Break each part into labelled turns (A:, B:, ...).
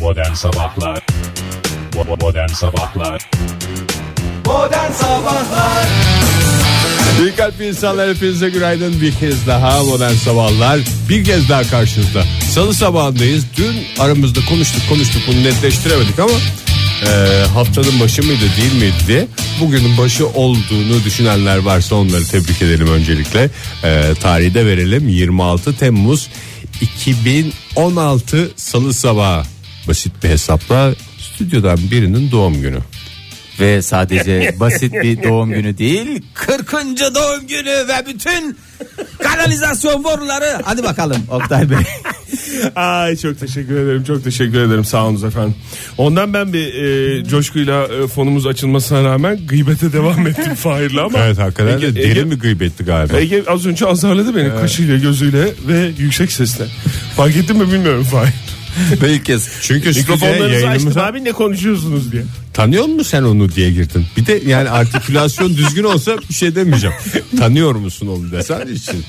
A: Modern Sabahlar Bo- Modern Sabahlar
B: Modern Sabahlar İyi kalpli insanlar hepinize günaydın bir kez daha modern sabahlar bir kez daha karşınızda salı sabahındayız dün aramızda konuştuk konuştuk bunu netleştiremedik ama e, haftanın başı mıydı değil miydi diye bugünün başı olduğunu düşünenler varsa onları tebrik edelim öncelikle e, tarihi de verelim 26 Temmuz 2016 salı sabahı basit bir hesapla stüdyodan birinin doğum günü
C: Ve sadece basit bir doğum günü değil 40. doğum günü ve bütün kanalizasyon boruları hadi bakalım Oktay Bey.
D: Ay çok teşekkür ederim. Çok teşekkür ederim. Sağolunuz efendim. Ondan ben bir e, coşkuyla e, fonumuz açılmasına rağmen gıybete devam ettim Fahir'le ama.
B: Evet hakikaten de
D: Ege-
B: derin
D: Ege-
B: bir gıybetti galiba.
D: Ege az önce azarladı beni kaşıyla gözüyle ve yüksek sesle. Fark ettin mi bilmiyorum Fahir.
C: Belki kez.
B: Çünkü
C: şey
B: stüdyoya
D: Mikrofonlarınızı açtım
B: yayınımıza
D: abi ne konuşuyorsunuz diye.
B: tanıyor musun sen onu diye girdin. Bir de yani artikülasyon düzgün olsa bir şey demeyeceğim. Tanıyor musun onu desen için.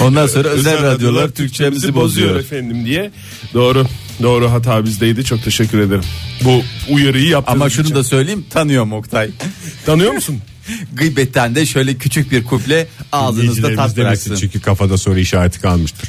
C: Ondan sonra özel radyolar Türkçemizi bozuyor.
D: efendim diye. Doğru. Doğru hata bizdeydi. Çok teşekkür ederim. Bu uyarıyı yaptığınız
C: Ama şunu
D: için.
C: da söyleyeyim tanıyorum Oktay.
D: Tanıyor musun?
C: Gıybetten de şöyle küçük bir kuple ağzınızda
B: Dinleyicilerimiz
C: tat
B: demesin
C: bıraksın.
B: çünkü kafada soru işareti kalmıştır.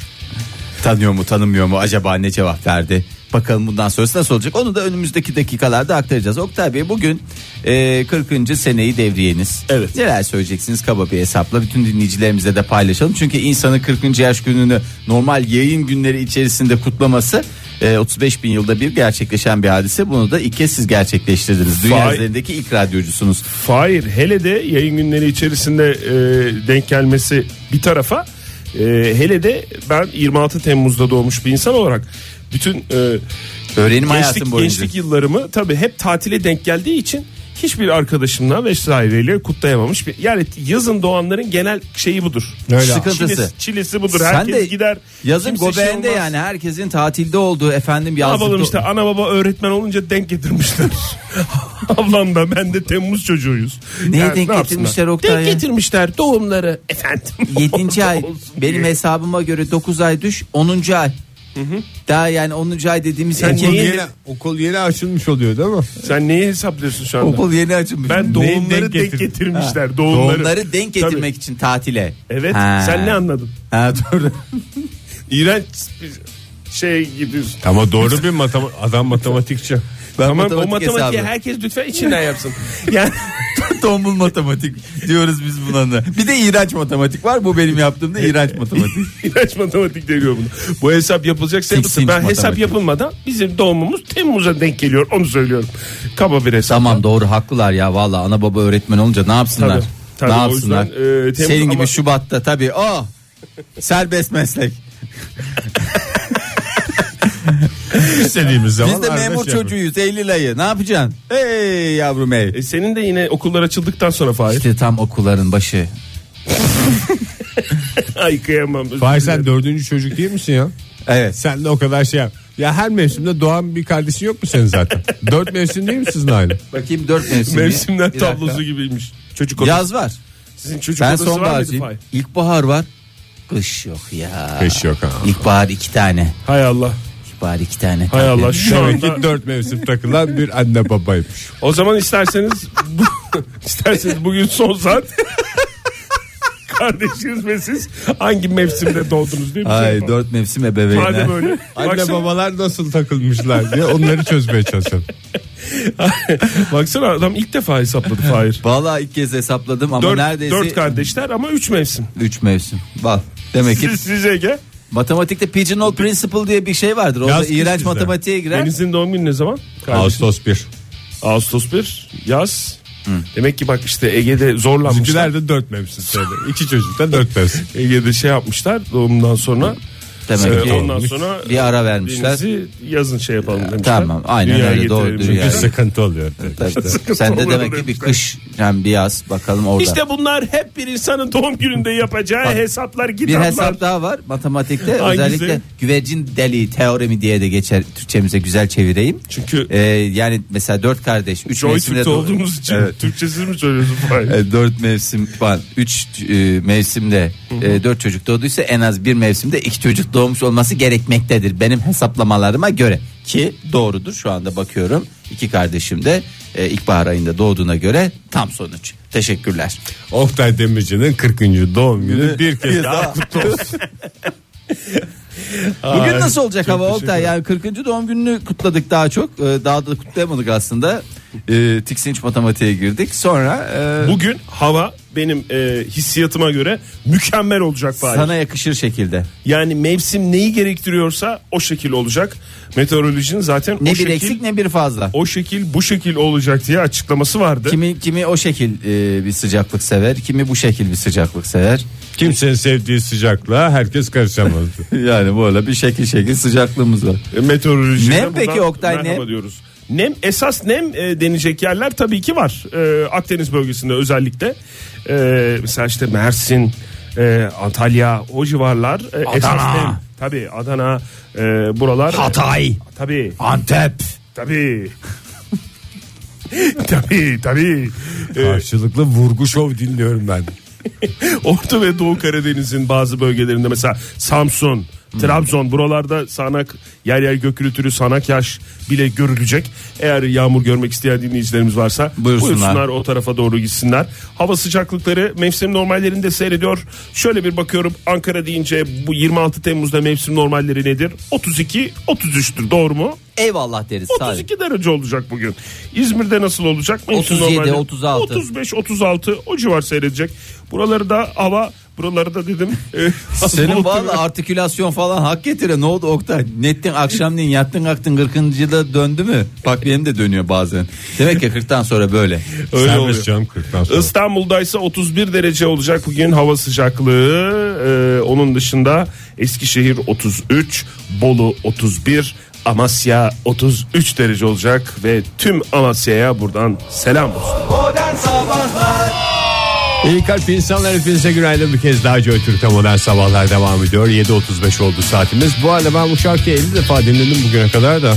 C: Tanıyor mu tanımıyor mu acaba ne cevap verdi? Bakalım bundan sonrası nasıl olacak onu da önümüzdeki dakikalarda aktaracağız. Oktay Bey bugün e, 40. seneyi devriyeniz.
D: Evet.
C: Neler söyleyeceksiniz kaba bir hesapla bütün dinleyicilerimize de paylaşalım. Çünkü insanın 40. yaş gününü normal yayın günleri içerisinde kutlaması e, 35 bin yılda bir gerçekleşen bir hadise. Bunu da ilk kez siz gerçekleştirdiniz. Dünya
D: Vay.
C: üzerindeki ilk radyocusunuz.
D: Hayır hele de yayın günleri içerisinde e, denk gelmesi bir tarafa e, hele de ben 26 Temmuz'da doğmuş bir insan olarak bütün e,
C: Öğrenim hayatım
D: gençlik,
C: boyunca.
D: gençlik yıllarımı tabii hep tatile denk geldiği için hiçbir arkadaşımla vesaireyle kutlayamamış. Bir, yani yazın doğanların genel şeyi budur.
B: Öyle.
C: Sıkıntısı.
D: Çilesi, çilesi budur. Herkes gider.
C: Yazın
D: Kimse şey
C: göbeğinde
D: olmaz.
C: yani herkesin tatilde olduğu efendim
D: Ne
C: yazlıkta.
D: yapalım işte ana baba öğretmen olunca denk getirmişler. Ablam da ben de Temmuz çocuğuyuz.
C: Neye denk
D: yapsınlar?
C: getirmişler Oktay
D: Denk
C: ya?
D: getirmişler doğumları efendim.
C: 7. ay
D: Olsun
C: benim
D: diye.
C: hesabıma göre 9 ay düş 10. ay. Daha yani 10. ay dediğimiz
D: Sen
B: Okul
C: erkek-
D: neyi-
B: yeni, okul yeni açılmış oluyor değil mi?
D: Sen neyi hesaplıyorsun şu anda?
C: okul yeni açılmış.
D: Ben
B: Neyi
D: doğumları
B: denk
D: denk,
B: getir-
D: getirmişler. Doğumları.
C: doğumları, denk
D: Tabii.
C: getirmek için tatile.
D: Evet.
C: Ha.
D: Sen ne anladın?
C: Ha doğru.
D: İğrenç bir şey gidiyorsun.
B: Ama doğru bir matema- adam matematikçi.
C: Ben
D: Tamam
C: matematik
D: o matematiği
C: hesabı.
D: herkes lütfen içinden yapsın. yani
C: Tombul matematik diyoruz biz buna da. Bir de iğrenç matematik var. Bu benim yaptığımda
D: E,
C: iğrenç matematik.
D: ilaç matematik deniyor bunu. Bu hesap yapılacaksa yapılsın. Ben
C: Tiksinç
D: hesap
C: matematik.
D: yapılmadan bizim doğumumuz Temmuz'a denk geliyor. Onu söylüyorum. Kaba bir hesap.
C: tamam doğru haklılar ya valla ana baba öğretmen olunca ne yapsınlar?
D: Tabii, tabii,
C: ne
D: o
C: yapsınlar?
D: yüzden, e, Temmuz
C: Senin gibi
D: ama-
C: Şubat'ta tabii. Oh, serbest meslek.
B: İstediğimiz zaman
C: Biz de
B: arada
C: memur
B: şey yapıyoruz.
C: çocuğuyuz Eylül ayı. Ne yapacaksın? Ey yavrum ey.
D: E, senin de yine okullar açıldıktan sonra Fahir.
C: İşte tam okulların başı.
D: Ay kıyamam. özür
B: Fahir
D: dilerim.
B: sen dördüncü çocuk değil misin ya?
C: Evet.
B: Sen de o kadar şey yap. Ya her mevsimde doğan bir kardeşin yok mu senin zaten? Dört mevsim değil mi sizin aile?
C: Bakayım dört mevsim.
D: Mevsimler
C: Bir dakika.
D: tablosu gibiymiş. Çocuk odası.
C: Yaz var.
D: Sizin çocuk
C: Ben
D: odası var mıydı
C: sonbaharcıyım.
D: Fahir?
C: İlkbahar var. Kış yok ya.
B: Beş yok ha.
C: İlkbahar iki tane.
D: Hay Allah.
C: İlkbahar iki tane.
D: Hay Allah.
C: Tabii.
D: Şu
B: Demek ki
D: anda-
B: dört mevsim takılan bir anne babaymış.
D: O zaman isterseniz bu- isterseniz bugün son saat kardeşiniz ve siz hangi mevsimde doğdunuz diye bir şey
C: Ay
D: yapalım.
C: dört mevsim
D: Madem
C: ebeveynler.
D: öyle.
B: Anne
D: baksana,
B: babalar nasıl takılmışlar diye onları çözmeye çalışalım.
D: baksana adam ilk defa hesapladı Fahir.
C: Valla ilk kez hesapladım ama
D: Dört,
C: neredeyse
D: dört kardeşler ama üç mevsim.
C: üç mevsim. Bak demek ki
D: Siz, siz Ege.
C: matematikte pigeonhole principle diye bir şey vardır. O da
B: Yaz kış
C: iğrenç
B: bizde.
C: matematiğe girer.
D: Deniz'in doğum günü ne zaman? Kardeşin.
B: Ağustos 1.
D: Ağustos 1 yaz. Demek ki bak işte Ege'de zorlanmışlar.
B: Bizimkiler de 4 mevsim söyledi. İki çocuk da 4 mevsim.
D: Ege'de şey yapmışlar doğumdan sonra.
C: Demek
D: Ee,
C: ki
D: ondan sonra
C: bir ara vermişler.
D: Deniz'i yazın şey yapalım demişler.
C: tamam, aynen
D: Dünyaya
C: öyle, doğru,
D: getirelim.
C: dünya.
B: Bir sıkıntı oluyor.
C: Tabii, tabii.
D: Sıkıntı
C: Sen de
D: oluyor
C: demek ki bir
D: demişler.
C: kış yani bir yaz bakalım orada.
D: İşte bunlar hep bir insanın doğum gününde yapacağı hesaplar
C: bir
D: kitaplar.
C: hesap daha var matematikte
D: Hangisi?
C: özellikle güvercin deliği teoremi diye de geçer Türkçemize güzel çevireyim.
D: Çünkü
C: Ee, yani mesela dört kardeş üç
D: Joy
C: mevsimde
D: Türk'te
C: doğ-
D: olduğumuz için
C: Evet.
D: Türkçesini mi söylüyorsun? Hayır.
C: E, dört mevsim falan üç e, mevsimde e, dört çocuk doğduysa en az bir mevsimde iki çocuk doğmuş olması gerekmektedir benim hesaplamalarıma göre
E: ki doğrudur şu anda bakıyorum. İki kardeşim de e, ilkbahar ayında doğduğuna göre tam sonuç. Teşekkürler.
B: Oktay Demirci'nin 40. doğum günü bir kez daha
E: kutlu Bugün nasıl olacak hava Oktay? Yani 40. doğum gününü kutladık daha çok. Ee, Daha da kutlayamadık aslında. Ee, tiksinç matematiğe girdik. Sonra e,
D: Bugün hava benim e, hissiyatıma göre mükemmel olacak Fahir.
E: sana yakışır şey. şekilde.
D: Yani mevsim neyi gerektiriyorsa o şekil olacak. Meteorolojinin zaten
E: Ne
D: o
E: bir
D: şekil,
E: eksik ne bir fazla.
D: o şekil bu şekil olacak diye açıklaması vardı.
E: Kimi kimi o şekil e, bir sıcaklık sever, kimi bu şekil bir sıcaklık sever.
B: Kimsenin sevdiği sıcaklığa herkes karışamazdı.
E: yani böyle bir şekil şekil sıcaklığımız var.
D: E, Meteorolojide
E: Nem
D: buradan
E: peki Oktay,
D: merhaba
E: nem?
D: diyoruz. Nem esas nem e, denecek yerler tabii ki var. E, Akdeniz bölgesinde özellikle E, mesela işte Mersin, e, Antalya o civarlar e, esas nem. Tabii Adana e, buralar.
E: Hatay,
D: Tabii.
E: Antep.
D: Tabii. tabii tabii. Ee,
B: Karşılıklı vurgu şov dinliyorum ben.
D: Orta ve Doğu Karadeniz'in bazı bölgelerinde mesela Samsun, Trabzon buralarda sanak yer yer gök gürültülü sanak yaş bile görülecek. Eğer yağmur görmek isteyen dinleyicilerimiz varsa
E: Buyursunlar.
D: buyursunlar o tarafa doğru gitsinler. Hava sıcaklıkları mevsim normallerinde seyrediyor. Şöyle bir bakıyorum Ankara deyince bu 26 Temmuz'da mevsim normalleri nedir? 32 33'tür doğru mu?
E: Eyvallah deriz. sadece.
D: 32 derece olacak bugün. İzmir'de nasıl olacak?
E: 37,
D: normalde
E: 36.
D: 35, 36 o civar seyredecek. Buraları da hava buraları da dedim. e,
E: Senin
D: bulutlu-
E: valla artikülasyon falan hak getire ne oldu Oktay? Nettin akşamleyin yattın kalktın 40. da döndü mü? Bak benim de dönüyor bazen. Demek ki 40'tan sonra böyle.
D: Öyle
B: Serbest
D: oluyor.
B: canım 40'tan sonra.
D: İstanbul'da ise 31 derece olacak bugün hava sıcaklığı. E, onun dışında Eskişehir 33, Bolu 31, Amasya 33 derece olacak ve tüm Amasya'ya buradan selam olsun.
F: Modern Sabahlar
B: İyi kalp insanlar hepinize günaydın bir kez daha Joy Türk'te modern sabahlar devam ediyor. 7.35 oldu saatimiz. Bu arada ben bu şarkıyı 50 defa dinledim bugüne kadar da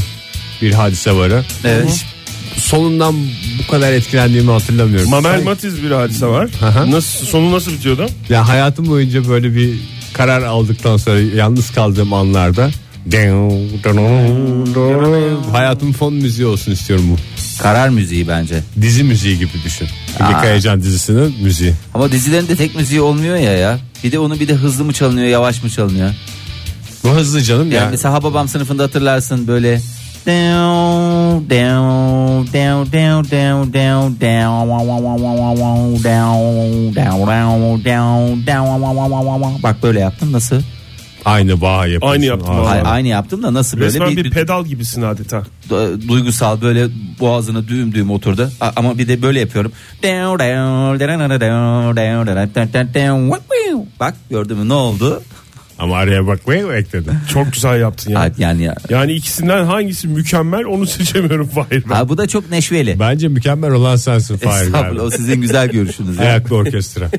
B: bir hadise var. ha.
E: Evet.
B: Hiç Sonundan bu kadar etkilendiğimi hatırlamıyorum.
D: Mamel
B: Sanki-
D: Matiz bir hadise var.
B: hı.
D: Nasıl sonu nasıl bitiyordu?
B: Ya hayatım boyunca böyle bir karar aldıktan sonra yalnız kaldığım anlarda hayatım fon müziği olsun istiyorum bu.
E: Karar müziği bence.
B: Dizi müziği gibi düşün. Bir Kayacan dizisinin müziği.
E: Ama dizilerin de tek müziği olmuyor ya ya. Bir de onu bir de hızlı mı çalınıyor yavaş mı çalınıyor? Yani,
B: Bu hızlı canım ya.
E: mesela Hababam sınıfında hatırlarsın böyle Down, down, down, down, down, down, down, down, down, down, down. Bak böyle yaptım nasıl?
B: Aynı bağ yapıyorsun.
D: Aynı yaptım
B: Aa.
D: vallahi.
E: Ay- Aynı yaptım da nasıl böyle
D: Resmen bir, pedal gibisin adeta.
E: du- duygusal böyle boğazına düğüm düğüm oturdu. A- Ama bir de böyle yapıyorum. Bak gördün mü ne oldu?
B: Ama araya bakmayı mı ekledin?
D: Çok güzel yaptın yani.
E: Ha, Yani ya.
D: Yani ikisinden hangisi mükemmel onu seçemiyorum Fahir ben.
E: Ha, bu da çok neşveli.
B: Bence mükemmel olan sensin Fahir
E: Estağfurullah
B: abi.
E: o sizin güzel görüşünüz. ya.
B: Ayaklı orkestra.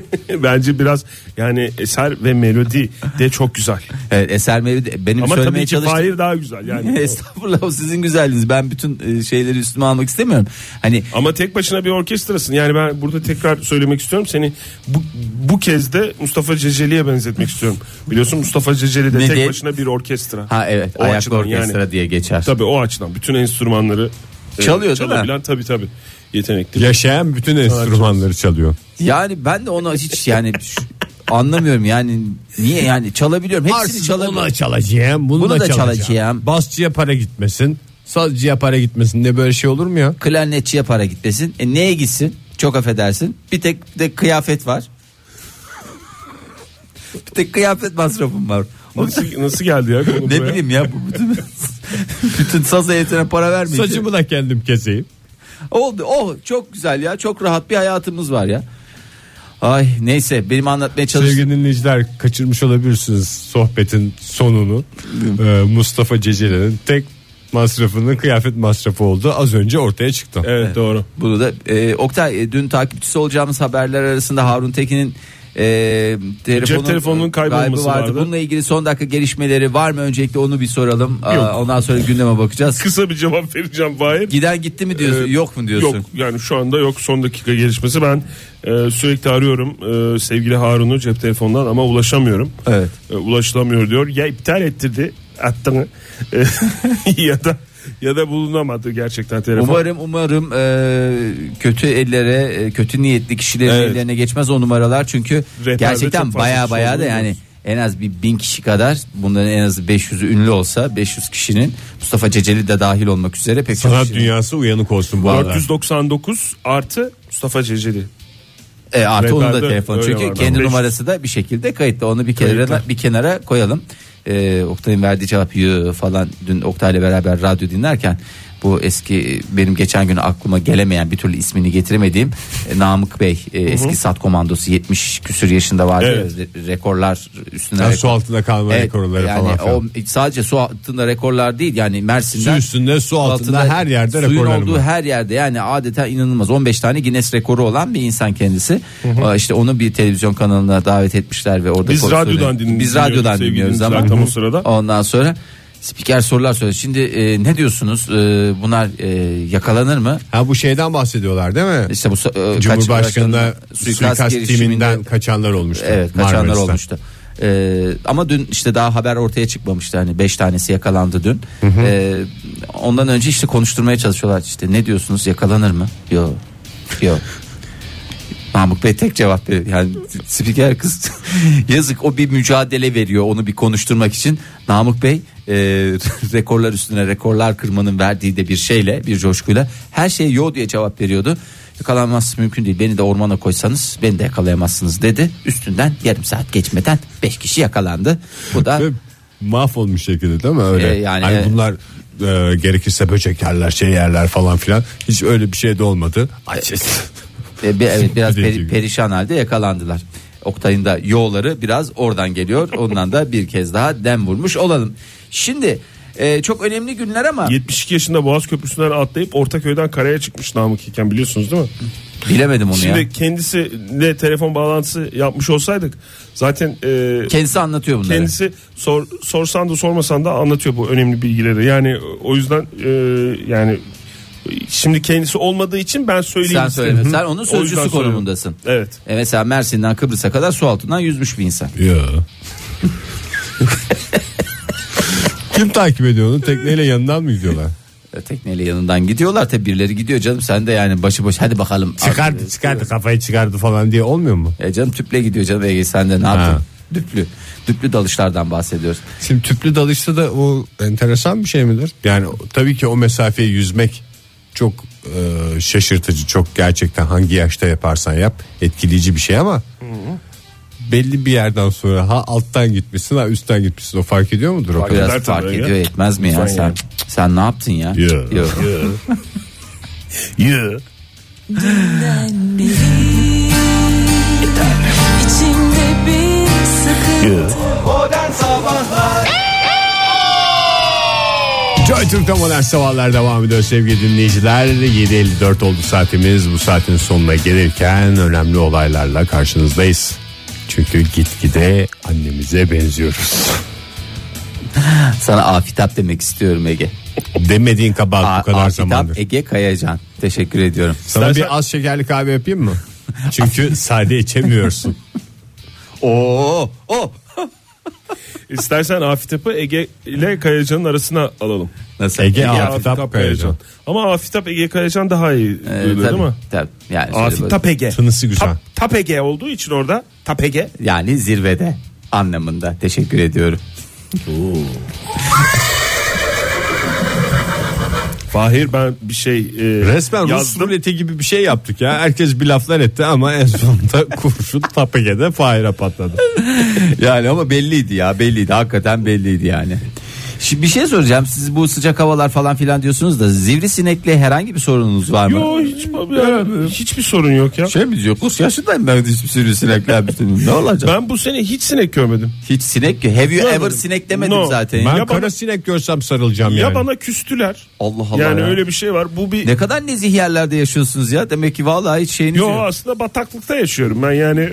D: Bence biraz yani eser ve melodi de çok güzel.
E: Evet, Eser Mevlid benim
D: Ama
E: söylemeye
D: tabii ki
E: çalıştığım
D: Fahir daha güzel yani.
E: Estağfurullah o sizin güzelliğiniz. Ben bütün e, şeyleri üstüme almak istemiyorum. Hani
D: Ama tek başına bir orkestrasın. Yani ben burada tekrar söylemek istiyorum. Seni bu, bu kez de Mustafa Ceceli'ye benzetmek istiyorum. Biliyorsun Mustafa Ceceli de
E: Ne
D: tek
E: diye?
D: başına bir orkestra.
E: ha evet
D: O
E: ayaklı
D: açıdan
E: orkestra
D: yani.
E: diye geçer.
D: Tabii o açıdan bütün enstrümanları e,
E: Çalıyor değil mi?
D: çalabilen tabii tabii yetenekli.
B: Yaşayan bütün enstrümanları çalıyor.
E: Yani ben de onu hiç yani şu- anlamıyorum yani niye yani çalabiliyorum. Hepsini çalabiliyorum.
B: çalacağım. Bunu,
E: da çalacağım.
B: Basçıya para gitmesin. Sazcıya para gitmesin. Ne böyle şey olur mu ya?
E: klarnetçiye para gitmesin. E neye gitsin? Çok affedersin. Bir tek bir de kıyafet var. bir tek kıyafet masrafım var. O-
D: Nasıl, nasıl geldi ya? konu
E: ne
D: buraya?
E: bileyim ya bu bütün bütün saz heyetine para vermeyince.
B: Saçımı da kendim keseyim.
E: Oldu. Oh çok güzel ya. Çok rahat bir hayatımız var ya. Ay neyse benim anlatmaya çalıştığım
B: Sevgili dinleyiciler kaçırmış olabilirsiniz sohbetin sonunu. Ee, Mustafa Ceceli'nin tek masrafının kıyafet masrafı oldu. Az önce ortaya çıktı.
D: Evet, doğru.
E: bunu da e, Oktay e, dün takipçisi olacağımız haberler arasında Harun Tekin'in e, telefonun,
D: Cep telefonunun kaybolması
E: kaybı
D: vardı.
E: Bununla ilgili son dakika gelişmeleri var mı? Öncelikle onu bir soralım. Aa, ondan sonra gündeme bakacağız.
D: Kısa bir cevap vereceğim Fahir.
E: Giden gitti mi diyorsun?
D: Ee,
E: yok mu diyorsun?
D: Yok yani şu anda yok son dakika gelişmesi ben e, sürekli arıyorum e, sevgili Harun'u cep telefonundan ama ulaşamıyorum.
E: Evet.
D: E, ulaşılamıyor diyor E, ya iptal ettirdi attığını ya da ya da bulunamadı gerçekten telefon.
C: Umarım umarım e, kötü ellere e, kötü niyetli kişilerin
D: Evet.
C: ellerine geçmez o numaralar çünkü
D: Rehberde çok
C: gerçekten
D: fazla
C: baya
D: kişi
C: baya da
D: olduğunu
C: yani
D: biliyoruz.
C: en az bir bin kişi kadar bunların en az 500'ü ünlü olsa 500 kişinin Mustafa Ceceli de dahil olmak üzere pek çok
B: Sanat
C: kişinin-
B: dünyası uyanık olsun bu arada.
D: 499 artı Mustafa Ceceli.
C: E, artı onun da
D: Rehberde
C: telefon
D: öyle
C: çünkü
D: var.
C: kendi
D: 500.
C: numarası da bir şekilde kayıtlı onu bir kenara
D: Kayıtlı.
C: bir kenara koyalım. E, Oktay'ın verdiği cevap "Yoo" falan dün Oktay'la beraber radyo dinlerken bu eski benim geçen gün aklıma gelemeyen bir türlü ismini getiremediğim e, Namık Bey e, eski sat komandosu 70 küsür yaşında vardı
D: Evet.
C: ya, re- rekorlar üstüne
B: Yani
C: rekor-
B: su altında kalma
C: Evet,
B: rekorları
C: yani
B: falan. filan.
C: o sadece su altında rekorlar değil yani
B: Su
C: Mersin'den
B: üstünde su altında, her yerde
C: suyun
B: rekorlarım
C: olduğu
B: var.
C: her yerde yani adeta inanılmaz 15 tane Guinness rekoru olan bir insan kendisi. Aa, İşte onu bir televizyon kanalına davet etmişler ve orada
D: Biz
C: konuşuyor.
D: radyodan dinliyoruz.
C: Biz radyodan
D: sevgili
C: dinliyoruz
D: dinleyiciler
C: ama
D: tam o sırada.
C: ondan sonra spiker sorular soruyor. Şimdi e, ne diyorsunuz? E, bunlar e, yakalanır mı?
B: Ha bu şeyden bahsediyorlar değil mi?
C: İşte bu so- e,
B: Cumhurbaşkanına
C: kaç-
B: suikast,
C: girişiminde-
B: timinden kaçanlar olmuştu.
C: Evet kaçanlar
B: Marmaris'ten.
C: olmuştu. Ee, ama dün işte daha haber ortaya çıkmamıştı hani 5 tanesi yakalandı dün. Ee, ondan önce işte konuşturmaya çalışıyorlar işte ne diyorsunuz yakalanır mı? Yok. Yok. Namık Bey tek cevap veriyor. Yani spiker kız yazık o bir mücadele veriyor onu bir konuşturmak için. Namık Bey e, rekorlar üstüne rekorlar kırmanın verdiği de bir şeyle bir coşkuyla her şeye yo diye cevap veriyordu. Yakalanmaz mümkün değil beni de ormana koysanız beni de yakalayamazsınız dedi. Üstünden yarım saat geçmeden 5 kişi yakalandı. Bu da
B: Ve mahvolmuş şekilde değil mi öyle?
C: E, yani-
B: yani bunlar e, gerekirse böcek yerler şey yerler falan filan. Hiç öyle bir şey de olmadı. Açız.
C: E, bir- evet, biraz
B: Dediği
C: peri-
B: gibi.
C: perişan halde yakalandılar. Oktay'ın da yolları biraz oradan geliyor. Ondan da bir kez daha dem vurmuş olalım. Şimdi e, çok önemli günler ama
D: 72 yaşında Boğaz Köprüsü'nden atlayıp Ortaköy'den karaya çıkmış Namık iken biliyorsunuz değil mi?
C: bilemedim onu
D: Şimdi
C: ya.
D: kendisiyle telefon bağlantısı yapmış olsaydık zaten e,
C: Kendisi anlatıyor bunları.
D: kendisi sor, sorsan da sormasan da anlatıyor bu önemli bilgileri. Yani o yüzden e, yani şimdi kendisi olmadığı için ben söyleyeyim.
C: Sen
D: istedim.
C: söyleme. Sen onun
D: O yüzden
C: sözcüsü
D: söylüyorum.
C: konumundasın.
D: Evet.
C: E, mesela Mersin'den Kıbrıs'a kadar su altından yüzmüş bir insan.
B: Ya. Kim takip ediyor onu? Tekneyle yanından mı gidiyorlar?
C: E, Tekneyle yanından gidiyorlar tabi birileri gidiyor canım sen de yani başı boş hadi bakalım.
B: Çıkardı çıkardı kafayı çıkardı falan diye olmuyor mu?
C: E, canım tüple gidiyor canım Ege sen de ne
B: Ha.
C: yaptın? Düplü. Düplü dalışlardan bahsediyoruz.
B: Şimdi tüplü dalışta da o enteresan bir şey midir? Yani o- tabii ki o mesafeyi yüzmek çok e, şaşırtıcı. Çok gerçekten hangi yaşta yaparsan yap etkileyici bir şey ama belli bir yerden sonra ha alttan gitmişsin ha üstten gitmişsin o fark ediyor mudur o?
D: Fark-
C: Biraz
D: Eder tabii
C: fark
D: ya.
C: ediyor etmez mi ya
D: Lütfen
C: sen
D: ya.
C: sen ne yaptın ya?
B: Yo.
C: Yo.
D: Yeah.
G: Ben biri İçimde bir sıkıntı
H: Modern Sabahlar
B: Joy Türk'te modern sabahlar devam ediyor sevgili dinleyiciler. 7.54 oldu saatimiz. Bu saatin sonuna gelirken önemli olaylarla karşınızdayız. Çünkü gitgide annemize benziyoruz.
C: Sana afitap demek istiyorum Ege.
B: Demediğin kabahat bu kadar
C: afitap
B: zamandır.
C: Ege Kayacan. Teşekkür ediyorum.
B: Sana bir az şekerli kahve yapayım mı? Çünkü sade içemiyorsun.
C: Oo, o.
D: İstersen Afitap'ı Ege ile Kayacan'ın arasına alalım.
C: Nasıl?
B: Ege
C: Ege-
B: Afitap Kayacan.
D: Ama Afitap Ege Kayacan daha iyi
C: Ee,
D: duyuluyor
C: tabii,
D: değil mi?
C: tabii. Yani, şöyle
D: Afitap
C: böyle-
D: Ege.
B: Tınısı güzel.
D: Tap, tap Ege olduğu için orada Tap Ege.
C: yani zirvede anlamında. Teşekkür ediyorum.
D: Fahir ben bir şey e,
B: Resmen Rus
D: yazdım.
B: ruleti gibi bir şey yaptık ya. Herkes bir laflar etti ama en sonunda kurşun tapegede fire patladı.
C: Yani ama belliydi ya belliydi hakikaten belliydi yani. Şimdi bir şey soracağım siz bu sıcak havalar falan filan diyorsunuz da sivrisinekle herhangi bir sorununuz var mı?
D: Yo hiç, yani hiçbir sorun yok ya.
C: Şey mi diyor kus yaşındayım ben hiç sivrisinekle ne olacak?
D: Ben bu sene hiç sinek görmedim.
C: Hiç sinek yok. Have you
D: Görmedim.
C: ever sinek demedim
D: No.
C: zaten.
B: Ben
D: Ya bana-
B: kara sinek görsem sarılacağım
D: Ya
B: yani.
D: bana küstüler.
C: Allah Allah
D: Yani
C: ya.
D: öyle bir şey var. Bu bir
C: Ne kadar nezih yerlerde yaşıyorsunuz ya. Demek ki vallahi hiç şeyiniz
D: Yo
C: yok.
D: aslında bataklıkta yaşıyorum ben yani.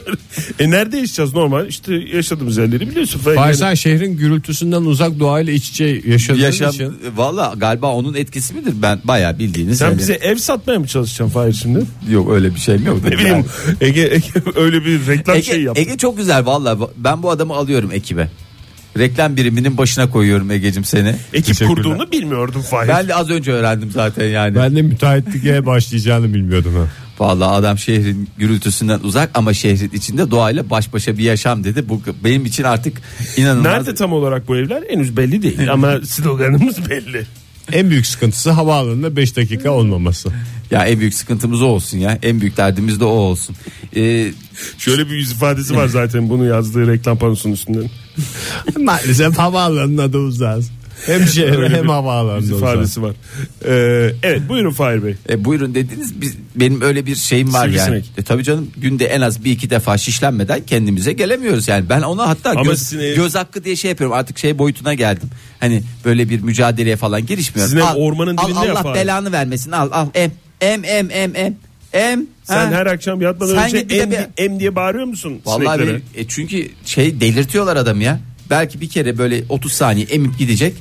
D: e nerede yaşayacağız normal? İşte yaşadığımız yerleri biliyorsun. Fahir.
B: Fahir
D: Yani-
B: sen şehrin gürültüsünden uzak doğayla iç içe yaşadığın
C: Yaşam
B: için
C: valla galiba onun etkisi midir? Ben bayağı bildiğiniz
D: Sen
C: yani-
D: bize ev satmaya mı çalışacaksın Fahir şimdi?
C: yok öyle bir şey mi yok?
D: Ne bileyim Ege, Ege öyle bir reklam
C: Ege,
D: şeyi yaptı.
C: Ege çok güzel valla. Ben bu adamı alıyorum ekibe. Reklam biriminin başına koyuyorum Ege'cim seni.
D: Ekip
B: Teşekkürler.
D: kurduğunu bilmiyordum Fahir.
C: Ben de az önce öğrendim zaten yani.
B: Ben de müteahhitliğe başlayacağını bilmiyordum. ha.
C: Vallahi adam şehrin gürültüsünden uzak ama şehrin içinde doğayla baş başa bir yaşam dedi. Bu benim için artık inanılmaz.
D: Nerede tam olarak bu evler henüz belli değil ama sloganımız belli.
B: En büyük sıkıntısı havaalanında 5 dakika olmaması.
C: Ya en büyük sıkıntımız o olsun ya. En büyük derdimiz de o olsun. Ee,
D: Şöyle bir yüz ifadesi var zaten bunu yazdığı reklam panosunun üstünden.
B: Maalesef havaalanının adı uzağız. Hem şehre
D: Öyle
B: hem
D: bir
B: havaalanında
D: Yüz
B: uzağız.
D: ifadesi var. Ee, evet buyurun Fahir Bey.
C: e, buyurun dediniz. Biz, benim öyle bir şeyim var yani.
D: Sivrisinek.
C: E, tabii canım günde en az bir iki defa şişlenmeden kendimize gelemiyoruz yani. Ben ona hatta
D: Ama
C: göz,
D: sizin ev-
C: göz hakkı diye şey yapıyorum. Artık şey boyutuna geldim. Hani böyle bir mücadeleye falan girişmiyorum.
D: Sizin ev ormanın dibinde
C: al,
D: ya
C: Allah
D: Fahir.
C: belanı vermesin. Al al em em em em em. Em.
D: Sen
C: ha.
D: her akşam yatmadan
C: Sen
D: önce
C: git bir de
D: em,
C: bir-
D: em diye bağırıyor musun
C: Vallahi
D: sineklere?
C: bir- e çünkü şey delirtiyorlar adam ya. Belki bir kere böyle 30 saniye emip gidecek.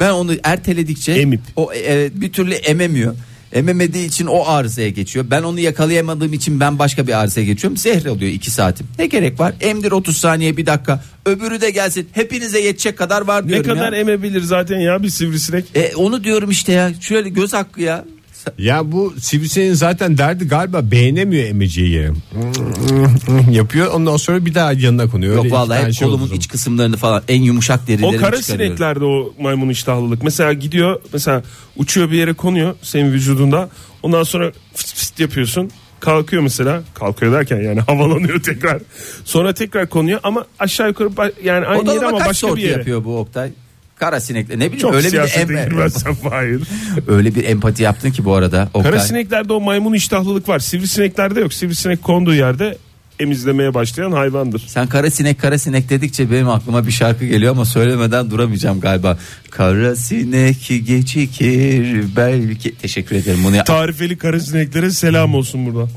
C: Ben onu erteledikçe
D: Emip.
C: o e, bir türlü ememiyor. Ememediği için o arızaya geçiyor. Ben onu yakalayamadığım için ben başka bir arızaya geçiyorum. Zehre oluyor 2 saatim. Ne gerek var? Emdir 30 saniye bir dakika. Öbürü de gelsin. Hepinize yetecek kadar var
D: Ne
C: diyorum
D: kadar
C: ya.
D: emebilir zaten ya bir sivrisinek.
C: E, onu diyorum işte ya. Şöyle göz hakkı ya.
B: Ya bu sivrisineğin zaten derdi galiba beğenemiyor emeceği yeri. Yapıyor ondan sonra bir daha yanına konuyor. Öyle
C: Hmm. Yok
B: iki
C: vallahi
B: tane
C: hep
B: şey
C: kolumun
B: oldu.
C: iç kısımlarını falan en yumuşak derilerimi
D: O kara
C: çıkarıyorum.
D: sineklerde o maymun iştahlılık. Mesela gidiyor mesela uçuyor bir yere konuyor senin vücudunda. Ondan sonra fıst fıst yapıyorsun. Kalkıyor mesela. Kalkıyor derken yani havalanıyor tekrar. Sonra tekrar konuyor ama aşağı yukarı ba- yani aynı yere
C: Odalama
D: ama
C: kaç
D: başka bir
C: tortu
D: yere.
C: yapıyor bu Oktay? Kara sinekle ne bileyim
D: Çok
C: öyle bir de
D: siyasete
C: em-
D: girmezsen hayır.
C: öyle bir empati yaptın ki bu arada Oktay.
D: Kara sineklerde o maymun iştahlılık var. Sivrisineklerde yok. Sivrisinek konduğu yerde emizlemeye başlayan hayvandır.
C: Sen kara sinek kara sinek dedikçe benim aklıma bir şarkı geliyor ama söylemeden duramayacağım galiba. Kara sinek gecikir belki. Teşekkür ederim bunu. yap-
D: Tarifeli kara sineklere selam olsun buradan.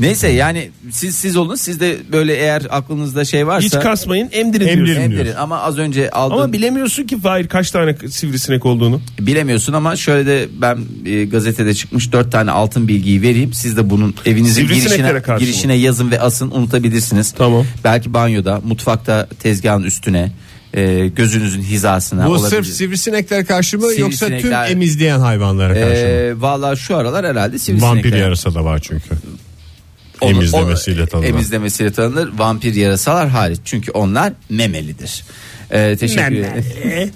C: Neyse yani siz siz olun siz de böyle eğer aklınızda şey varsa
D: Hiç kasmayın emdirin,
B: Emdirin.
D: diyorsun.
C: emdirin. ama az önce aldın
D: Ama bilemiyorsun ki Fahir kaç tane sivrisinek olduğunu.
C: bilemiyorsun ama şöyle de ben e, gazetede çıkmış dört tane altın bilgiyi vereyim. Siz de bunun evinizin
D: Sivrisineklere
C: girişine
D: karşı mı?
C: girişine yazın ve asın unutabilirsiniz.
D: Tamam.
C: Belki banyoda, mutfakta tezgahın üstüne, e, gözünüzün hizasına
B: Bu
C: olabilir.
B: sırf sivrisinekler karşı mı yoksa tüm
C: Sivrisinekler-
B: emizleyen hayvanlara karşı mı?
C: Ee, Valla şu aralar herhalde sivrisinekler.
B: Vampir yarasa da var çünkü.
C: Onu-
B: Emizlemesiyle
C: o-
B: tanınan.
C: Emizlemesiyle tanınır. Vampir yarasalar hariç. Çünkü onlar memelidir. Ee, teşekkür ederim.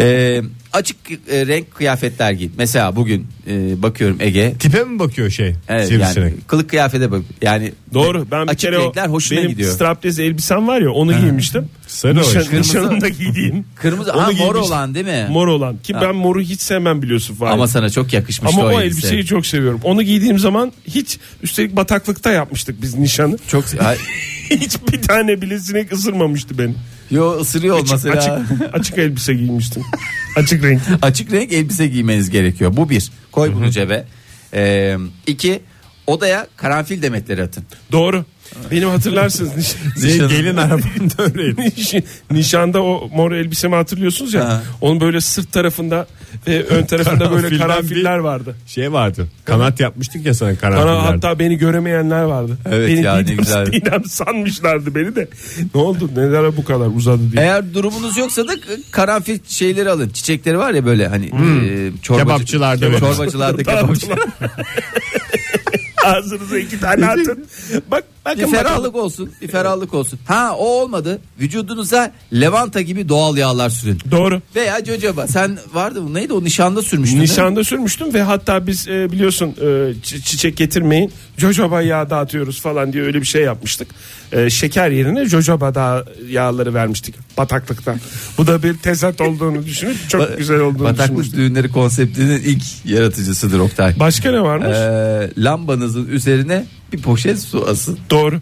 C: Ee, açık e, renk kıyafetler giy. Mesela bugün e, bakıyorum Ege.
B: Tipe mi bakıyor şey
C: Evet,
B: sivrisinek?
C: yani kılık kıyafete bak. Yani
D: Doğru. Ben bir
C: açık
D: kere o
C: renkler hoşuna
D: benim
C: gidiyor.
D: strapless elbisem var ya onu giymiştim.
B: Sarı
D: Nişan,
B: hoş.
D: nişanımda giydiğim.
C: Kırmızı
D: Onu
C: ha, mor
D: giymiştim.
C: olan değil mi?
D: Mor olan. Ki
C: Ha.
D: ben moru hiç sevmem biliyorsun Fahir.
C: Ama
D: Ama,
C: sana çok yakışmıştı
D: o,
C: o, elbise.
D: elbiseyi çok seviyorum. Onu giydiğim zaman hiç üstelik bataklıkta yapmıştık biz nişanı.
C: çok Ay,
D: hiç bir tane bile sinek ısırmamıştı beni.
C: yo ısırıyor olması
D: açık,
C: ya.
D: açık elbise giymiştim. açık renk.
C: Açık renk elbise giymeniz gerekiyor. Bu bir. Koy bunu cebe. Ee, iki odaya karanfil demetleri atın.
D: Doğru. Benim hatırlarsınız niş-
C: Nişanın-
B: Şey,
D: gelin arabamda öyleydi. Niş- Nişanda o mor elbisemi hatırlıyorsunuz ya.
C: Ha.
D: Onun böyle sırt tarafında ve ön tarafında böyle
B: Karanfilden
D: karanfiller vardı.
B: Şey vardı. Kanat yapmıştık ya sana
D: Bana
B: karanfillerde.
D: hatta beni göremeyenler vardı.
C: Evet
D: beni
C: ya, ne
D: Didem-
C: güzel.
D: Didem sanmışlardı beni de. Ne oldu? Neler bu kadar uzadı diye.
C: Eğer durumunuz yoksa da karanfil şeyleri alın. Çiçekleri var ya böyle hani
D: Hmm.
C: e, çorbacı-
B: Kebapçılarda böyle.
C: çorbacılarda kebapçı.
D: Ağzınıza iki tane atın. Bak
C: Bir
D: bakın bakalım.
C: ferahlık olsun, bir ferahlık olsun. Ha o olmadı. Vücudunuza levanta gibi doğal yağlar sürün.
D: Doğru.
C: Veya jojoba. Sen vardı mı? Neydi o nişanda sürmüştün? değil mi?
D: Nişanda sürmüştüm ve hatta biz e, biliyorsun e, çi- çiçek getirmeyin jojoba yağı dağıtıyoruz falan diye öyle bir şey yapmıştık. E, şeker yerine jojoba da yağları vermiştik bataklıktan. Bu da bir tezat olduğunu düşünüp çok güzel olduğunu
C: Bataklık
D: düşünmüştüm.
C: düğünleri konseptinin ilk yaratıcısıdır Oktay.
D: Başka ne varmış?
C: Ee, lambanızın üzerine bir poşet su asın.
D: Doğru.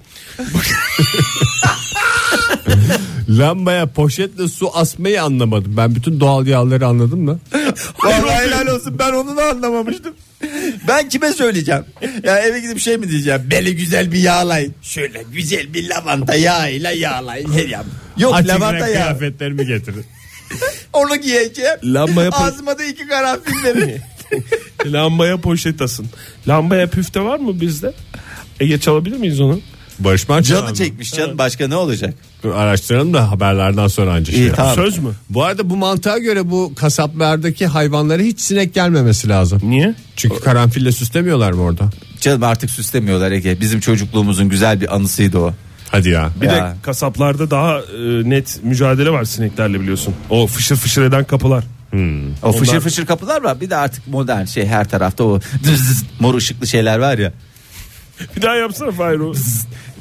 B: Lambaya poşetle su asmayı anlamadım. Ben bütün doğal yağları anladım da.
C: Vallahi helal olsun ben onu da anlamamıştım. Ben kime söyleyeceğim? Ya eve gidip şey mi diyeceğim? Böyle güzel bir yağlayın. Şöyle güzel bir lavanta yağıyla yağlayın. Her yan. Yok
B: Açık
C: lavanta
B: renk
C: yağı.
B: kıyafetlerimi getirin.
C: Onu giyeceğim.
D: Lambaya po-
C: Ağzıma da iki karanfil verin.
D: E, Lambaya poşet asın. Lambaya püfte var mı bizde? Ege çalabilir miyiz onu?
B: Barış Manço
C: Canı
B: abi.
C: çekmiş canım başka ne olacak?
B: Dur araştıralım da haberlerden sonra anca şey.
C: İyi, tamam.
D: Söz mü?
B: Bu arada bu mantığa göre bu kasaplardaki hayvanlara hiç sinek gelmemesi lazım.
D: Niye?
B: Çünkü karanfille süslemiyorlar mı orada?
C: Canım artık süslemiyorlar Ege. Bizim çocukluğumuzun güzel bir anısıydı o.
B: Hadi ya.
D: Bir
C: Ya.
D: de kasaplarda daha e, net mücadele var sineklerle biliyorsun. O fışır fışır eden kapılar.
C: O fışır fışır kapılar var. Bir de artık modern şey her tarafta o dız dız mor ışıklı şeyler var ya.
D: Bir daha yapsana Fahir o.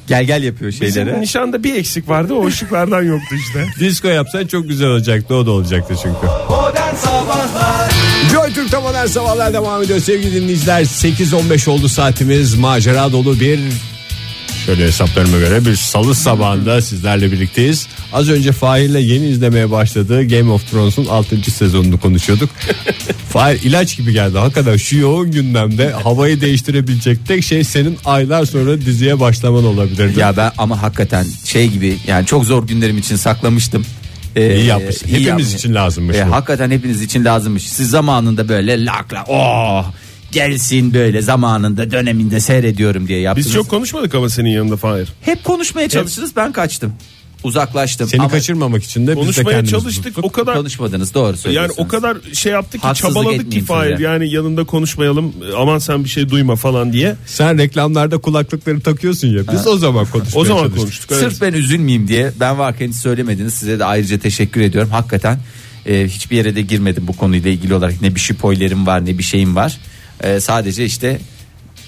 C: Gel gel yapıyor
D: Bizim
C: şeyleri.
D: nişanda bir eksik vardı o ışıklardan yoktu işte.
B: Disko yapsan çok güzel olacaktı. O da olacaktı çünkü.
H: Modern Sabahlar
B: Joy Türk'te modern sabahlar devam ediyor. Sevgili dinleyiciler 8.15 oldu saatimiz. Macera dolu bir Şöyle hesaplarıma göre bir salı sabahında sizlerle birlikteyiz. Az önce Fahir'le yeni izlemeye başladığı Game of Thrones'un 6. sezonunu konuşuyorduk. Fahir ilaç gibi geldi. Hakikaten şu yoğun gündemde havayı değiştirebilecek tek şey senin aylar sonra diziye başlaman olabilirdi.
C: Ya ben ama hakikaten şey gibi yani çok zor günlerim için saklamıştım. Ee,
B: İyi yapmışsın. Hepimiz için lazımmış bu.
C: hakikaten hepiniz için lazımmış. Siz zamanında böyle lakla oh gelsin böyle zamanında döneminde seyrediyorum diye yaptınız.
D: Biz çok konuşmadık ama senin yanında Fahir.
C: Hep konuşmaya çalıştınız ben kaçtım. Uzaklaştım.
B: Seni
C: ama
B: kaçırmamak için de biz de
D: Konuşmaya
B: kendimiz
D: çalıştık
B: tuttuk.
D: o kadar
C: konuşmadınız doğru
D: yani
C: söylüyorsunuz.
D: o kadar şey yaptık ki
C: Haksızlık
D: çabaladık ki
C: etmeyeyim
D: Fahir.
C: size.
D: Yani yanında konuşmayalım aman sen bir şey duyma falan diye.
B: Sen reklamlarda kulaklıkları takıyorsun ya. Biz o zaman konuşmaya
D: O zaman
B: çalıştık.
D: konuştuk. evet.
C: Sırf ben üzülmeyeyim diye ben varken hiç söylemediniz. Size de ayrıca teşekkür ediyorum. Hakikaten e, hiçbir yere de girmedim bu konuyla ilgili olarak. Ne bir spoilerim var ne bir şeyim var. E, sadece işte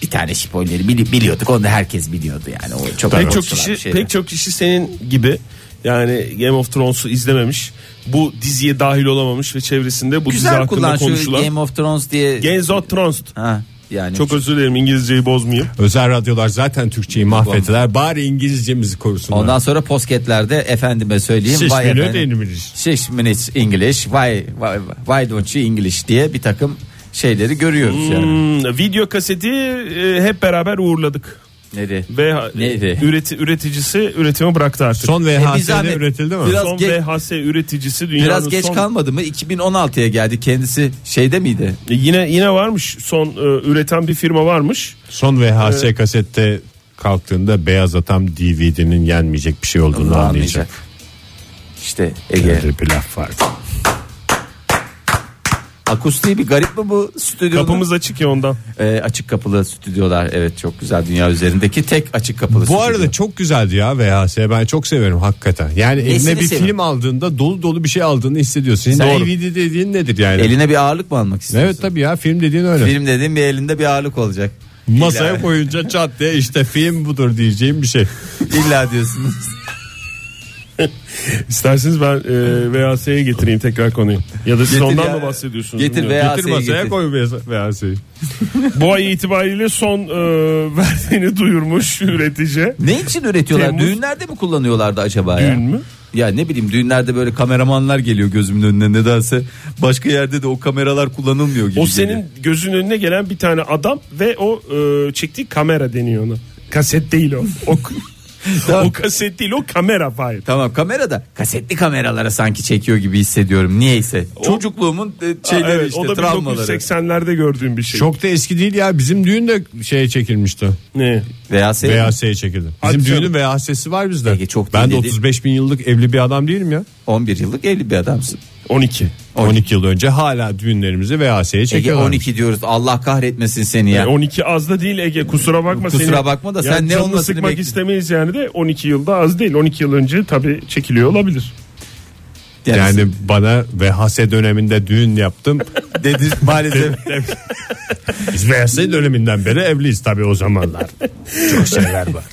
C: bir tane spoileri bili- biliyorduk. Onu da herkes biliyordu yani. O çok
D: pek çok
C: konuşulan bir
D: kişi
C: şeydi.
D: pek çok kişi senin gibi yani Game of Thrones'u izlememiş. Bu diziye dahil olamamış ve çevresinde bu dizi
C: güzel
D: hakkında
C: kullan şu
D: konuşulan
C: Game of Thrones diye.
D: Game of Thrones.
C: ha, yani
D: Çok özür dilerim İngilizceyi bozmayayım.
B: Özel radyolar zaten Türkçeyi mahvettiler. Bari İngilizcemizi korusunlar.
C: Ondan sonra posketlerde efendime söyleyeyim.
B: Şişmini
C: vay efendim,
B: de İngiliz.
C: şişmini English. Why, why, why don't you English diye bir takım şeyleri görüyoruz yani.
D: Hmm, video kaseti e, hep beraber uğurladık.
C: Nereye?
D: Ve
C: Neydi?
D: üreti, üreticisi üretimi bıraktı artık.
B: Son
C: E, bir
B: VHS'de
C: zahmet.
B: üretildi mi?
C: Biraz
D: Son
C: ge-
D: VHS üreticisi dünyanın
C: Biraz geç
D: son-
C: kalmadı mı? 2016'ya geldi. Kendisi şeyde miydi?
D: E, Yine yine varmış. Son e, üreten bir firma varmış.
B: Son VHS kasette kalktığında beyaz atam DVD'nin yenmeyecek bir şey olduğunu anlayacak.
C: İşte Ege.
B: Böyle bir laf var.
C: Akustiği bir garip mi bu stüdyonun?
D: Kapımız açık ya ondan.
C: Ee, açık kapılı stüdyolar. Evet çok güzel dünya üzerindeki tek açık kapılı
B: Bu
C: stüdyo.
B: arada çok güzeldi ya VHS. Ben çok severim hakikaten. Yani eline
C: Nesini
B: bir
C: seviyorsun?
B: film aldığında dolu dolu bir şey aldığını hissediyorsun. Şimdi
C: Doğru.
B: DVD dediğin nedir yani?
C: Eline bir ağırlık mı almak istiyorsun?
B: Evet tabii ya film dediğin öyle.
C: Film dediğim bir elinde bir ağırlık olacak.
B: Masaya
C: İlla-
B: koyunca çat diye işte film budur diyeceğim bir şey.
C: İlla diyorsunuz.
D: İsterseniz ben e, VHS'ye getireyim tekrar konuyu. Ya da siz
C: Getir
D: ondan
C: ya.
D: mı bahsediyorsunuz?
C: Getir
D: bilmiyorum.
C: VHS 'yi
B: Getir masaya
C: getir.
B: koy şey. VHS'yi.
D: Bu ay itibariyle son e, verdiğini duyurmuş üretici.
C: Ne için üretiyorlar?
D: Temmuz-
C: Düğünlerde mi kullanıyorlardı acaba ya?
D: Düğün mü?
C: Ya ne bileyim düğünlerde böyle kameramanlar geliyor gözümün önüne nedense. Başka yerde de o kameralar kullanılmıyor gibi.
D: O
C: geliyor.
D: senin gözünün önüne gelen bir tane adam ve o e, çektiği kamera deniyor ona. Kaset değil o. O,
C: Tamam.
D: o kaset değil o kamera Fahir.
C: Tamam kamerada kasetli kameralara sanki çekiyor gibi hissediyorum. Niyeyse. Çocukluğumun e,
D: Aa,
C: şeyleri
D: evet,
C: işte
D: o da
C: travmaları.
D: 1980'lerde gördüğüm bir şey.
B: Çok da eski değil ya. Bizim düğün de şeye çekilmişti.
D: Ne?
C: Veya senin-
B: VHS'ye çekildi.
D: Hadi
B: Bizim
D: canım.
B: düğünün VHS'si var bizde.
C: Ege çok
B: ben de
C: dinledi.
B: 35 bin yıllık evli bir adam değilim ya.
C: 11 yıllık evli bir adamsın.
D: 12.
B: 12 yıl önce hala düğünlerimizi VHS'ye
C: Ege
B: çekiyorlar.
C: 12 diyoruz. Allah kahretmesin seni ya.
D: Yani 12 E, az da değil Ege kusura bakma.
C: Kusura
D: senin-
C: bakma da
D: Yani
C: sen ne
D: canını
C: olmasını
D: sıkmak
C: bekledin?
D: istemeyiz yani de 12 yılda az değil. 12 yıl önce tabii çekiliyor olabilir.
C: Yani,
B: Yani bana VHS döneminde düğün yaptım.
C: dedi maalesef.
B: Biz VHS döneminden beri evliyiz tabii o zamanlar. Çok şeyler var.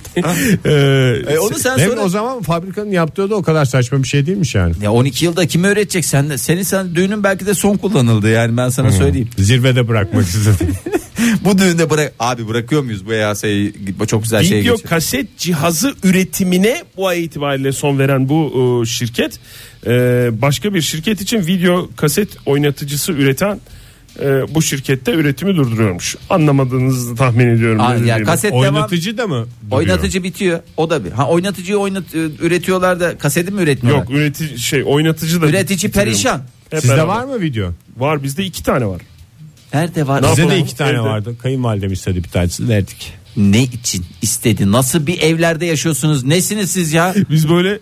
B: Ee,
C: E, onu sen
B: Hem
C: sonra-
B: o zaman fabrikanın yaptığı da o kadar saçma bir şey değilmiş yani.
C: ya 12 yılda kimi öğretecek sen de senin sen düğünün belki de son kullanıldı yani ben sana söyleyeyim.
B: Zirvede bırakmak istedim.
C: Hmm. Bu düğünde bırak abi bırakıyor muyuz bu VHS'yi? Bu çok güzel şey
D: Video
C: geçiyor.
D: kaset cihazı üretimine bu ay itibariyle son veren bu e, şirket e, başka bir şirket için video kaset oynatıcısı üreten e, bu şirkette üretimi durduruyormuş. Anlamadığınızı tahmin ediyorum.
C: Aa,
D: böyle
C: ya
D: diyelim.
C: kaset devam.
B: Oynatıcı da mı? duruyor?
C: Oynatıcı bitiyor. O da bir. Ha oynatıcıyı oynat e, üretiyorlar da kaseti mi üretmiyorlar?
D: Yok üretici şey oynatıcı da
C: Üretici perişan.
D: Hep
B: Sizde
D: beraber.
B: var mı video?
D: Var bizde iki tane var.
C: Nerede var?
D: Ne
B: Bizde de
D: yapalım?
B: iki tane
D: Evde.
B: vardı. Kayınvalidem istedi bir tanesini verdik.
E: ne için istedi? Nasıl bir evlerde yaşıyorsunuz? Nesiniz siz ya?
D: Biz böyle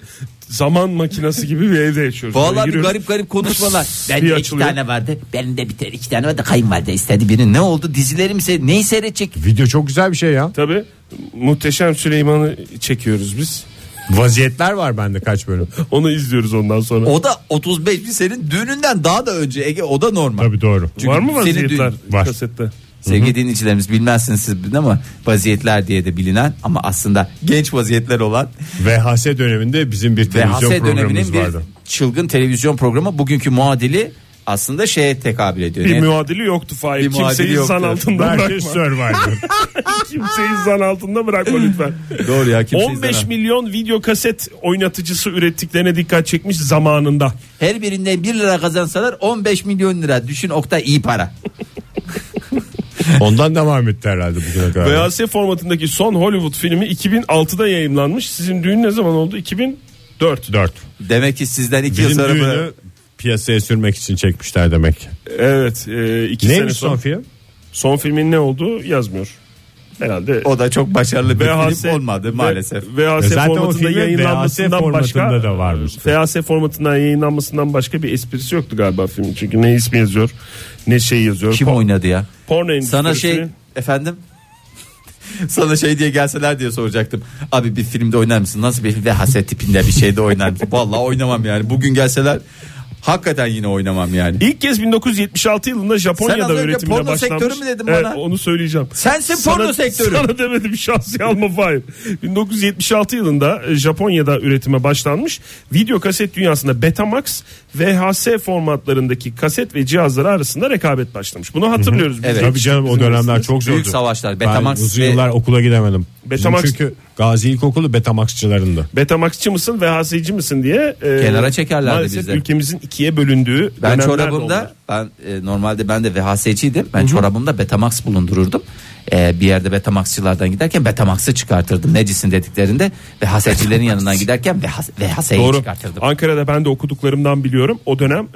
D: zaman makinesi gibi bir evde yaşıyoruz. Böyle
E: Vallahi bir
D: giriyoruz.
E: garip garip konuşmalar. Ben
D: diye
E: de iki
D: açılıyor.
E: tane vardı. Benim de bir tane iki tane vardı. Kayınvalide istedi birini. Ne oldu? Dizileri mi seyredecek? Neyi seyredecek?
B: Video çok güzel bir şey ya.
D: Tabii muhteşem Süleyman'ı çekiyoruz biz.
B: Vaziyetler var bende kaç bölüm.
D: Onu izliyoruz ondan sonra.
E: O da 35 bin senin düğününden daha da önce Ege o da normal.
B: Tabii doğru.
E: Çünkü
D: Var mı
E: senin
D: vaziyetler
E: düğün-
B: Var.
D: kasette?
E: Sevgili dinleyicilerimiz bilmezsiniz siz ama vaziyetler diye de bilinen ama aslında genç vaziyetler olan
B: VHS döneminde bizim bir televizyon
E: VHS
B: programımız
E: döneminin bir
B: vardı.
E: çılgın televizyon programı bugünkü muadili aslında şeye tekabül ediyor.
D: Bir
E: Ne-
D: muadili yoktu Fahir.
E: Bir
D: Kimseyi
E: muadili
D: insan
E: yoktu.
D: altında
B: Herkes şey
D: bırakma.
B: Survivor.
D: Kimseyi insan altında bırakma lütfen.
E: Doğru ya kimse
D: 15
E: izlemez.
D: milyon video kaset oynatıcısı ürettiklerine dikkat çekmiş zamanında.
E: Her birinden 1 lira kazansalar 15 milyon lira. Düşün Oktay iyi para.
B: Ondan devam etti herhalde bugüne kadar.
D: VHS formatındaki son Hollywood filmi 2006'da yayımlanmış. Sizin düğün ne zaman oldu? 2004.
B: 4.
E: Demek ki sizden 2 yıl
B: Bizim
E: sonra
B: düğünü
E: bu-
B: piyasaya sürmek için çekmişler demek.
D: Evet. E, iki sene
B: Neymiş
D: son,
B: son
D: son,
B: film?
D: filmin ne olduğu yazmıyor. Herhalde
E: o da çok başarılı bir
D: VHS
E: film olmadı maalesef.
D: VHS
B: E zaten o
D: formatında
B: filmin
D: yayınlanmasından
B: VHS
D: başka
B: formatında da varmış.
D: VHS formatından yayınlanmasından başka bir esprisi yoktu galiba filmin. Çünkü ne ismi yazıyor, ne şey yazıyor.
E: Kim
D: Po-
E: oynadı ya?
D: Porno endüstrisinin-
E: Sana şey efendim sana şey diye gelseler diye soracaktım. Abi bir filmde oynar mısın? Nasıl bir VHS tipinde bir şeyde oynar mısın? Vallahi oynamam yani. Bugün gelseler hakikaten yine oynamam yani.
D: İlk kez 1976 yılında
E: Sen az
D: Japonya'da
E: önce
D: üretimine
E: porno
D: başlanmış.
E: sektörü mü dedin
D: Evet,
E: bana?
D: onu söyleyeceğim.
E: Sensin porno sektörü.
D: Sana demedim şahsi alma Fahir. 1976 yılında e, Japonya'da üretime başlanmış. Video kaset dünyasında Betamax, VHS formatlarındaki kaset ve cihazları arasında rekabet başlamış. Bunu hatırlıyoruz biz.
E: Evet.
B: Tabii canım o
D: Bizim
B: dönemler
D: arasında.
B: çok zordu.
E: Büyük savaşlar,
B: ben
E: Betamax
B: uzun
E: ve-
B: yıllar okula gidemedim.
D: Betamax-
B: Betamax... Çünkü Gazi İlkokulu Betamaxçılarındı.
D: Betamaxçı mısın VHS'ci misin diye e,
E: Kenara çekerlerdi
D: maalesef
E: bizi.
D: ülkemizin ikiye bölündüğü
E: Ben
D: dönemler de
E: çorabımda
D: oldu.
E: ben e, normalde ben de VHS'ciydim. Ben çorabımda Betamax bulundururdum. E, bir yerde Betamax'çılardan giderken Betamax'ı çıkartırdım. Necisin dediklerinde VHS'cilerin yanından giderken VHS, VHS'yi
D: Doğru.
E: çıkartırdım.
D: Ankara'da ben de okuduklarımdan biliyorum. O dönem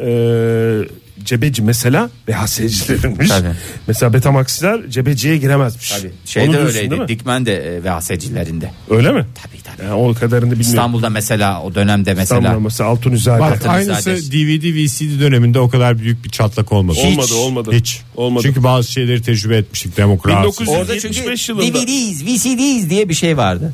D: e, cebeci mesela VHS'cilerinmiş.
E: Tabii.
D: Mesela Betamax'lar cebeciye giremezmiş.
E: Tabii.
D: Onu
E: Şeyde
D: diyorsun değil
E: öyleydi.
D: mi?
E: Dikmen de e, VHS'cilerinde.
D: Öyle mi?
E: Tabii tabii.
D: Yani o kadarını bilmiyorum. İstanbul
E: İstanbul'da mesela o dönemde mesela
D: mesela, Altın Üzer'de.
B: Bak aynısı
E: Hatırlıyorum.
B: DVD VCD döneminde o kadar büyük bir çatlak olmadı.
D: Hiç. Olmadı, olmadı.
B: Hiç.
D: Olmadı.
B: Çünkü bazı şeyleri tecrübe etmiştik demokrasi.
D: 1900
E: orada çünkü
D: 75 yılında.
E: DVD'yiz, VCD'yiz diye bir şey vardı.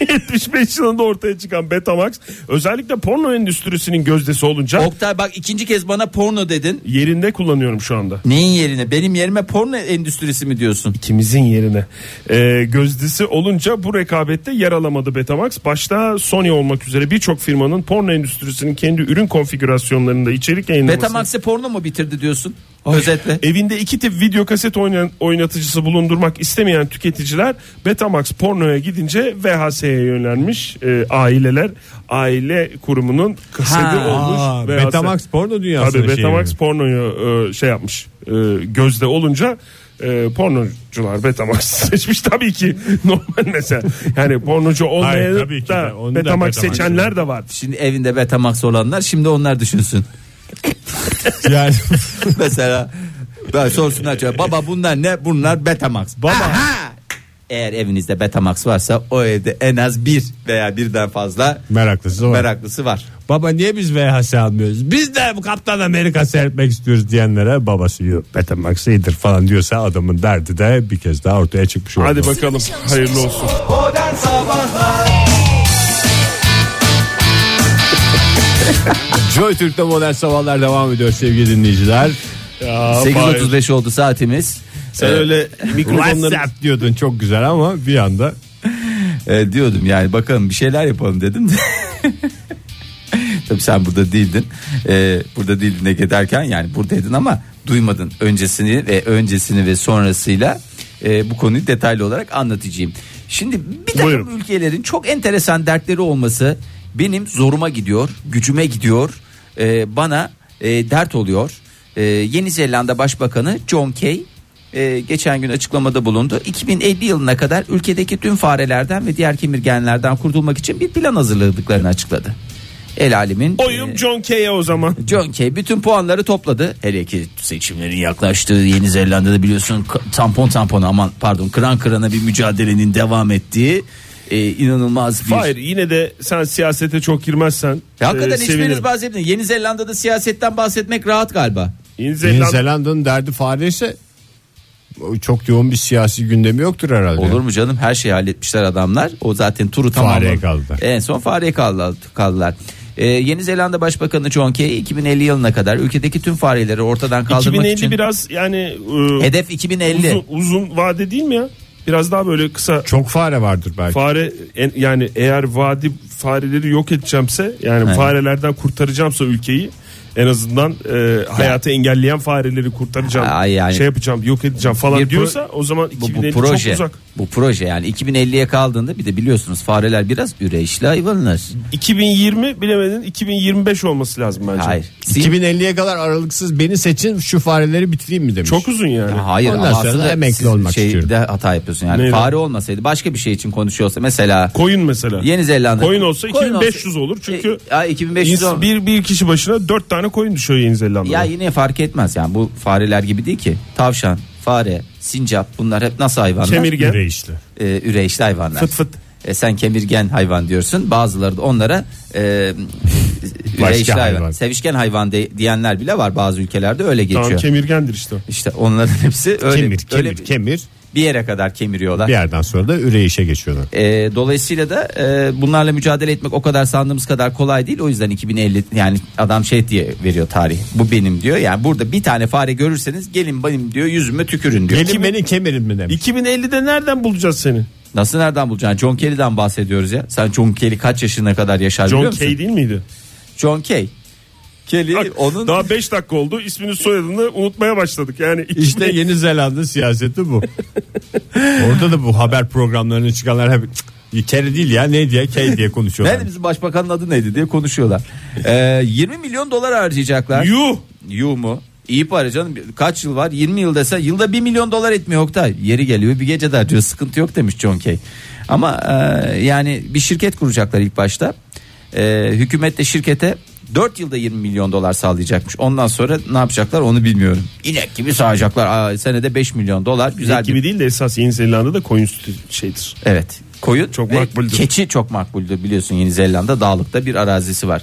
D: 1975 yılında ortaya çıkan Betamax özellikle porno endüstrisinin gözdesi olunca
E: Oktay bak ikinci kez bana porno dedin.
D: yerinde kullanıyorum şu anda.
E: Neyin yerine? Benim yerime porno endüstrisi mi diyorsun?
D: ikimizin yerine. Ee, gözdesi olunca bu rekabette yer alamadı Betamax. Başta Sony olmak üzere birçok firmanın porno endüstrisinin kendi ürün konfigürasyonlarında içerik yayınlaması.
E: Betamax'ı porno mu bitirdi diyorsun? Özetle.
D: Evinde iki tip video kaset oynayan, oynatıcısı bulundurmak istemeyen tüketiciler Betamax pornoya gidince VHS'ye yönlenmiş e, aileler. Aile kurumunun kaseti
E: Ha.
B: Aa,
D: olmuş. VHS.
B: Betamax porno dünyasının
D: Tabii
B: şeyi
D: Betamax
B: mi?
D: pornoyu e, şey yapmış e, gözde olunca e, pornocular Betamax seçmiş tabii ki normal mesela yani pornocu olmayan
B: Hayır,
D: da
B: tabii ki de, onu da
D: Betamax
B: Betamax
D: seçenler de var.
E: Şimdi evinde Betamax olanlar şimdi onlar düşünsün.
B: Yani
E: Mesela ben sorsunlar çocuğa, baba bunlar ne? Bunlar Betamax. Baba. Eğer evinizde Betamax varsa o evde en az bir veya birden fazla
B: meraklısı o.
E: meraklısı var.
B: Baba niye biz VHS almıyoruz? Biz de bu Kaptan Amerika seyretmek istiyoruz diyenlere babası yok Betamax iyidir falan diyorsa adamın derdi de bir kez daha ortaya çıkmış oldu.
D: Hadi bakalım hayırlı olsun.
I: Modern Sabahlar
B: Joy Türk'te modern sabahlar devam ediyor sevgili dinleyiciler. Ee,
D: Ya, Fahir,
E: 8.35 oldu saatimiz.
D: sen öyle mikrofonların
B: WhatsApp diyordun çok güzel ama bir anda
E: Ee, diyordum yani bakalım bir şeyler yapalım dedim de. Tabii sen burada değildin. Ee, burada değildin Ege derken yani buradaydın ama duymadın öncesini ve öncesini ve sonrasıyla e, bu konuyu detaylı olarak anlatacağım. Şimdi bir takım
D: Buyurun.
E: ülkelerin çok enteresan dertleri olması benim zoruma gidiyor, gücüme gidiyor, e, bana e, dert oluyor. E, Yeni Zelanda Başbakanı John Key e, geçen gün açıklamada bulundu. 2050 yılına kadar ülkedeki tüm farelerden ve diğer kemirgenlerden kurtulmak için bir plan hazırladıklarını açıkladı.
C: El alemin
D: Oyum
C: e,
D: John K'ye o zaman.
C: John Kay bütün puanları topladı. Hele ki seçimlerin yaklaştığı Yeni Zelanda'da biliyorsun k- tampon tampona aman pardon kıran kırana bir mücadelenin devam ettiği e, inanılmaz bir...
D: Hayır yine de sen siyasete çok girmezsen
C: Ya Hakikaten
D: e,
C: hiçbiriniz
D: sevinirim.
C: bahsetmediniz. Yeni Zelanda'da siyasetten bahsetmek rahat galiba.
D: Yeni Zelanda-
B: Yeni Zelanda'nın derdi fare ise o çok yoğun bir siyasi gündemi yoktur herhalde.
C: Olur mu canım? Her şeyi halletmişler adamlar. O zaten turu tamamladı.
B: Fareye kaldılar.
C: En son fareye kaldı- kaldılar. Ee, Yeni Zelanda Başbakanı John Key 2050 yılına kadar ülkedeki tüm fareleri ortadan kaldırmak
D: 2050
C: için
D: biraz yani e,
C: hedef 2050.
D: uzun, uzun vade değil mi ya? Biraz daha böyle kısa
B: Çok fare vardır belki.
D: fare en- yani eğer vadi fareleri yok edeceğimse yani
C: Evet.
D: farelerden kurtaracağımsa ülkeyi en azından e, hayatı engelleyen fareleri kurtaracağım.
C: Ha, yani-
D: şey yapacağım, yok edeceğim falan
C: Bir pro-
D: diyorsa o zaman
C: bu,
D: 2050
C: bu proje.
D: çok uzak.
C: Bu proje yani 2050'ye kaldığında bir de biliyorsunuz fareler biraz üreyişli hayvanlar.
D: 2020 bilemedin 2025 olması lazım bence.
C: Hayır. Sin-
B: 2050'ye kadar aralıksız beni seçin şu fareleri bitireyim mi demiş.
D: Çok uzun yani.
C: Hayır
B: Ondan
C: ama
B: sonra
C: aslında
B: emekli
C: siz
B: olmak
C: şeyde
B: istiyorum.
C: şey, hata yapıyorsun yani.
D: Neyden?
C: Fare olmasaydı başka bir şey için konuşuyorsa mesela
D: Koyun mesela.
C: Yeni Zelanda.
D: Koyun olsa
C: Koyun
D: 2500 olur çünkü
C: E, ay, 2500
D: İns-
C: olmaz.
D: bir, bir kişi başına dört tane koyun düşüyor Yeni Zelanda'da.
C: Ya yine fark etmez yani bu fareler gibi değil ki. Tavşan, fare, sincap bunlar hep nasıl hayvanlar?
D: Kemirgen.
B: Yürüyüşlü.
C: E, üreyişli hayvanlar.
D: Fıt fıt.
C: E, sen kemirgen hayvan diyorsun. Bazıları da onlara e, üreyişli hayvan.
B: hayvan.
C: Sevişken hayvan de- diyenler bile var bazı ülkelerde öyle geçiyor.
D: Tamam kemirgendir işte. o.
C: işte onların hepsi öyle,
B: Kemir, kemir,
C: öyle bir-
B: kemir.
C: bir yere kadar kemiriyorlar.
B: Bir yerden sonra da üreyişe geçiyorlar.
C: E, dolayısıyla da e, bunlarla mücadele etmek o kadar sandığımız kadar kolay değil. O yüzden 2050 yani adam şey diye veriyor tarih. Bu benim diyor. Yani burada bir tane fare görürseniz gelin benim diyor yüzüme tükürün diyor.
B: Gelin beni kemerin mi demiş.
D: 2050'de nereden bulacağız seni?
C: Nasıl nereden bulacaksın? John Kerry'den bahsediyoruz ya. Sen John Kerry kaç yaşına kadar yaşar biliyor
D: John
C: musun?
D: Kay değil miydi?
C: John Kay. Kelly
D: Bak,
C: onun
D: Daha 5 dakika oldu. İsmini soyadını unutmaya başladık. Yani
B: İşte Yeni Zelanda siyaseti bu. Orada da bu haber programlarına çıkanlar hep "Cık, kere değil ya ne diye key diye konuşuyorlar.
C: Nerede bizim başbakanın adı neydi diye konuşuyorlar. Ee, 20 milyon dolar harcayacaklar.
D: Yuh.
C: Yu mu? İyi para canım. Kaç yıl var? 20 yıl desen yılda 1 milyon dolar etmiyor Oktay. Yeri geliyor bir gece der diyor. Sıkıntı yok demiş John Kay. Ama e, yani bir şirket kuracaklar ilk başta. E, hükümet de şirkete 4 yılda 20 milyon dolar sağlayacakmış. Ondan sonra ne yapacaklar onu bilmiyorum. İnek gibi sağacaklar. Aa, senede 5 milyon dolar güzel
D: Güzel
C: bir
D: gibi değil de esas Yeni Zelanda'da koyun sütü şeydir.
C: Evet. Koyun
D: Çok
C: ve
D: makbuldür.
C: keçi çok makbuldür biliyorsun Yeni Zelanda dağlıkta bir arazisi var.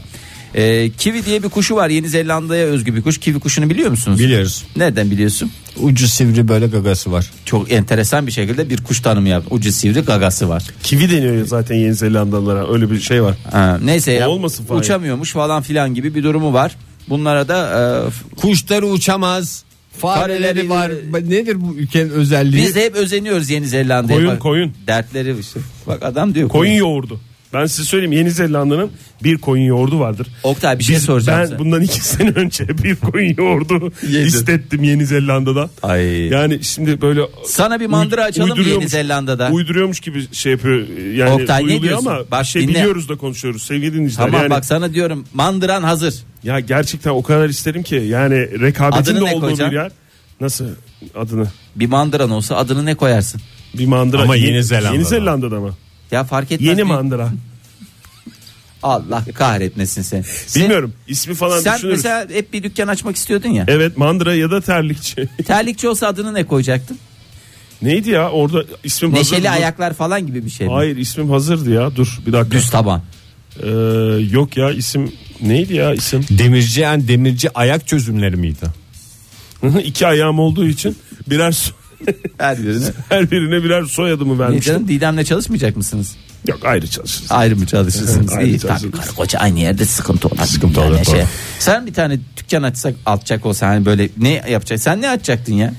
C: Ee, kiwi diye bir kuşu var Yeni Zelanda'ya özgü bir kuş. Kiwi kuşunu biliyor musunuz?
B: Biliyoruz.
C: Nereden biliyorsun?
B: Ucu sivri böyle gagası var.
C: Çok enteresan bir şekilde bir kuş tanımı yaptı. Ucu sivri gagası var.
D: Kivi deniyor ya zaten Yeni Zelandalılara. Öyle bir şey var.
C: Ha, neyse ya,
D: Olmasın Fahir.
C: uçamıyormuş falan filan gibi bir durumu var. Bunlara da e, f-
B: Kuşları uçamaz. Fareleri
C: Fareleri-
B: var. Nedir bu ülkenin özelliği?
C: biz de hep özeniyoruz Yeni Zelanda'ya.
D: Koyun,
C: Bak,
D: koyun.
C: Dertleri işte. Bak adam diyor.
D: Koyun yoğurdu. Ben size söyleyeyim Yeni Zelanda'nın bir koyun yoğurdu vardır.
C: Oktay bir şey soracağım
D: ben
C: sana.
D: bundan iki sene önce bir koyun yoğurdu
C: Yedin.
D: istettim Yeni Zelanda'da.
C: Ay.
D: Yani şimdi böyle
C: Sana bir mandıra
D: uyd-
C: açalım mı Yeni
D: uyduruyormuş-
C: Zelanda'da?
D: Uyduruyormuş gibi şey yapıyor yani
C: Oktay, ne
D: duyuluyor
C: diyorsun?
D: ama
C: Bak,
D: şey
C: dinle.
D: biliyoruz da konuşuyoruz sevgili dinleyiciler.
C: Tamam
D: yani,
C: bak sana diyorum mandıran hazır.
D: Ya gerçekten o kadar isterim ki yani rekabetin
C: Adını
D: de
C: ne
D: olduğu
C: koyacaksın?
D: bir yer. Nasıl adını?
C: Bir mandıran olsa adını ne koyarsın?
D: Bir mandıra.
B: Ama
D: Ye-
B: Yeni Zelanda'da.
D: Yeni Zelanda'da mı?
C: Ya fark etmez.
D: Yeni
C: Bir-
D: mandıra.
C: Allah kahretmesin seni.
D: Bilmiyorum. ismi falan
C: Sen
D: düşünürüz.
C: mesela hep bir dükkan açmak istiyordun ya.
D: Evet mandıra ya da terlikçi.
C: Terlikçi olsa adını ne koyacaktın?
D: Neydi ya orada ismim hazırdı.
C: Neşeli ayaklar falan gibi bir şey mi?
D: Hayır ismim hazırdı ya dur bir dakika.
C: Düz taban.
D: Ee, yok ya isim neydi ya isim?
B: Demirci en demirci ayak çözümleri miydi?
D: İki ayağım olduğu için birer so-
C: Her birini.
D: her birine birer soyadımı
C: Ne
D: vermiştim.
C: canım Didem'le çalışmayacak mısınız?
D: Yok ayrı çalışırız.
C: Ayrı mı çalışırsınız?
D: Ayrı
C: İyi tabii
D: çalışırız.
C: karı koca aynı yerde sıkıntı olmaz.
B: Sıkıntı
C: Yani şey.
B: olur, doğru.
C: Sen bir tane dükkan açsak alacak olsa hani böyle ne yapacak? Sen ne açacaktın ya?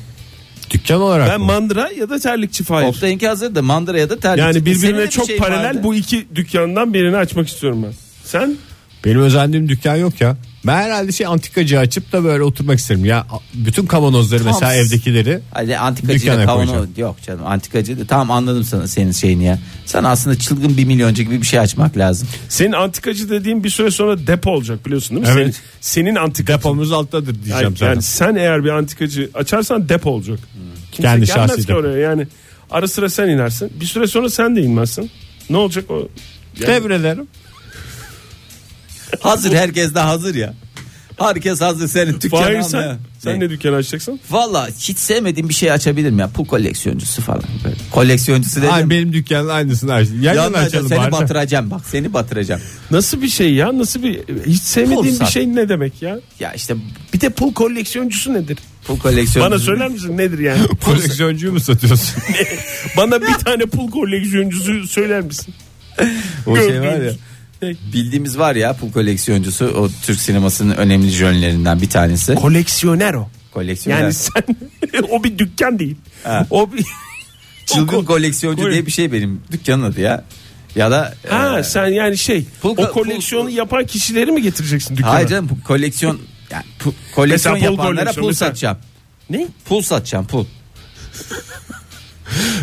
B: Dükkan olarak
D: Ben
B: mı?
D: mandıra ya da terlikçi fayır.
C: Oktay'ınki hazır da mandıra ya da terlikçi.
D: Yani
C: Senin de
D: birbirine
C: bir
D: çok
C: şey
D: paralel
C: vardı.
D: bu iki dükkandan birini açmak istiyorum ben. Sen
B: Benim özendiğim dükkan yok ya. Ben herhalde şey antikacı açıp da böyle oturmak isterim. Ya bütün kavanozları mesela evdekileri
C: Hadi antikacı
B: Dükkana
C: da kavanoz
B: koyacağım.
C: yok canım antikacı da tamam anladım sana senin şeyini ya. Sen aslında çılgın bir milyoncu gibi bir şey açmak lazım.
D: senin antikacı dediğin bir süre sonra depo olacak biliyorsun değil mi?
B: Evet.
D: Senin, senin antikacı.
B: depomuz alttadır diyeceğim
D: yani,
B: sana.
D: yani sen eğer bir antikacı açarsan depo olacak. Kimse
B: Hmm. Kendi
D: gelmez
B: şahsi
D: ki
B: depo.
D: oraya yani. Ara sıra sen inersin. Bir süre sonra sen de inmezsin. Ne olacak o? Yani-
B: Devrelerim.
E: hazır herkes de hazır ya. Herkes hazır senin
D: Fahir
E: dükkanı
D: sen,
E: almaya.
D: sen
E: Ne?
D: ne dükkan açacaksın?
E: Valla hiç sevmediğim bir şey açabilirim ya. Pul koleksiyoncusu falan. Böyle. Koleksiyoncusu dedim.
B: Ay benim dükkanın aynısını açtım. Yan yana
E: Yanına
B: açalım
E: seni
B: bari.
E: batıracağım bak seni batıracağım.
D: Nasıl bir şey ya? Nasıl bir hiç sevmediğin
E: Pulsar.
D: bir şey ne demek ya?
E: Ya işte
D: Bir de pul koleksiyoncusu nedir?
E: pul koleksiyoncusu.
D: Bana söyler misin nedir yani?
B: Koleksiyoncuyu mu satıyorsun?
D: Bana bir tane pul koleksiyoncusu söyler misin?
E: O şey var ya.
D: Gördüğünüz.
E: Bildiğimiz var ya pul koleksiyoncusu o Türk sinemasının önemli jönlerinden bir tanesi.
D: Koleksiyoner o.
E: Koleksiyoner.
D: Yani sen o bir dükkan değil.
E: Ha.
D: O bir
E: Çılgın
D: o-
E: koleksiyoncu
D: kole-
E: diye bir şey benim dükkanın adı ya. Ya da
D: Ha
E: e,
D: sen yani şey
E: Pul-
D: o koleksiyonu
E: pul-
D: yapan kişileri mi getireceksin dükkana?
E: hayır canım bu koleksiyon yani pu- koleksiyon
D: Mesela pul
E: yapanlara
D: koleksiyonu
E: pul
D: sen-
E: satacağım.
D: Ne?
E: Pul satacağım pul.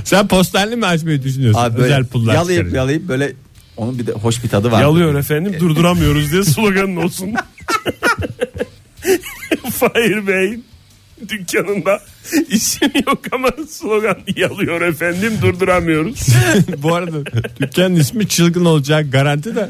B: Sen posterli mi açmayı düşünüyorsun?
E: Abi böyle
B: Özel pullar
E: yalayıp
B: çıkarıyor.
E: yalayıp böyle onun bir de hoş bir tadı var.
D: Yalıyor efendim durduramıyoruz diye sloganın olsun. Fahir Bey dükkanında işim yok ama slogan yalıyor efendim durduramıyoruz.
B: Bu arada dükkanın ismi çılgın olacak garanti de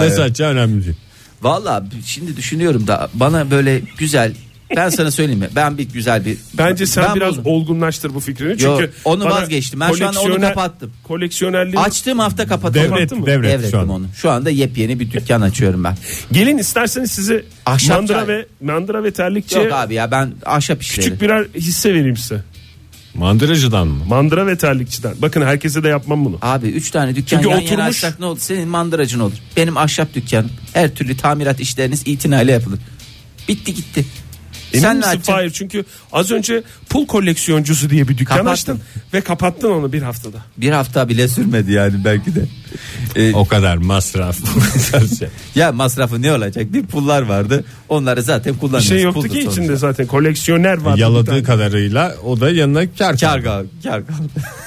B: ne satacağı önemli değil.
E: Valla şimdi düşünüyorum da bana böyle güzel ben sana söyleyeyim mi? Ben bir güzel bir
D: Bence sen
E: Ben
D: biraz
E: buldum.
D: olgunlaştır bu fikrini.
E: Yo,
D: Çünkü
E: onu
D: bana
E: vazgeçtim. Ben şu anda onu
D: koleksiyoner-
E: kapattım.
D: Koleksiyonerliği
E: açtığım hafta kapatıyorum.
B: Devret,
D: mı?
B: devret şu an.
E: Devrettim onu. Şu anda yepyeni bir dükkan açıyorum ben.
D: Gelin isterseniz size
E: Ahşap
D: mandıra
E: çay.
D: ve mandıra ve terlikçe
E: Yok abi ya ben ahşap işleri.
D: Şey- küçük birer hisse vereyim size.
B: Mandıracıdan mı?
D: Mandıra ve terlikçiden. Bakın herkese de yapmam bunu.
E: Abi 3 tane dükkan
D: Çünkü
E: yan yana
D: oturmuş-
E: açsak ne olur? Senin mandıracın olur. Benim ahşap dükkanım. Her türlü tamirat işleriniz itinayla yapılır. Bitti gitti.
D: Emin
E: Sen ne
D: misin
E: açacaksın?
D: Fahir? Çünkü az önce pul koleksiyoncusu diye bir dükkan
E: Kapattın.
D: açtın ve kapattın onu bir haftada.
E: Bir hafta bile sürmedi yani belki de. Ee,
B: O kadar masraf. bu kadar şey.
E: ya masrafı ne olacak? Bir pullar vardı. Onları zaten
D: Bir
E: kullanıyoruz.
D: şey yoktu
E: Puldu
D: ki
E: sonuçta.
D: içinde zaten koleksiyoner vardı. bir tane.
B: Yaladığı kadarıyla o da yanına kar
E: Kar gal- kar gal.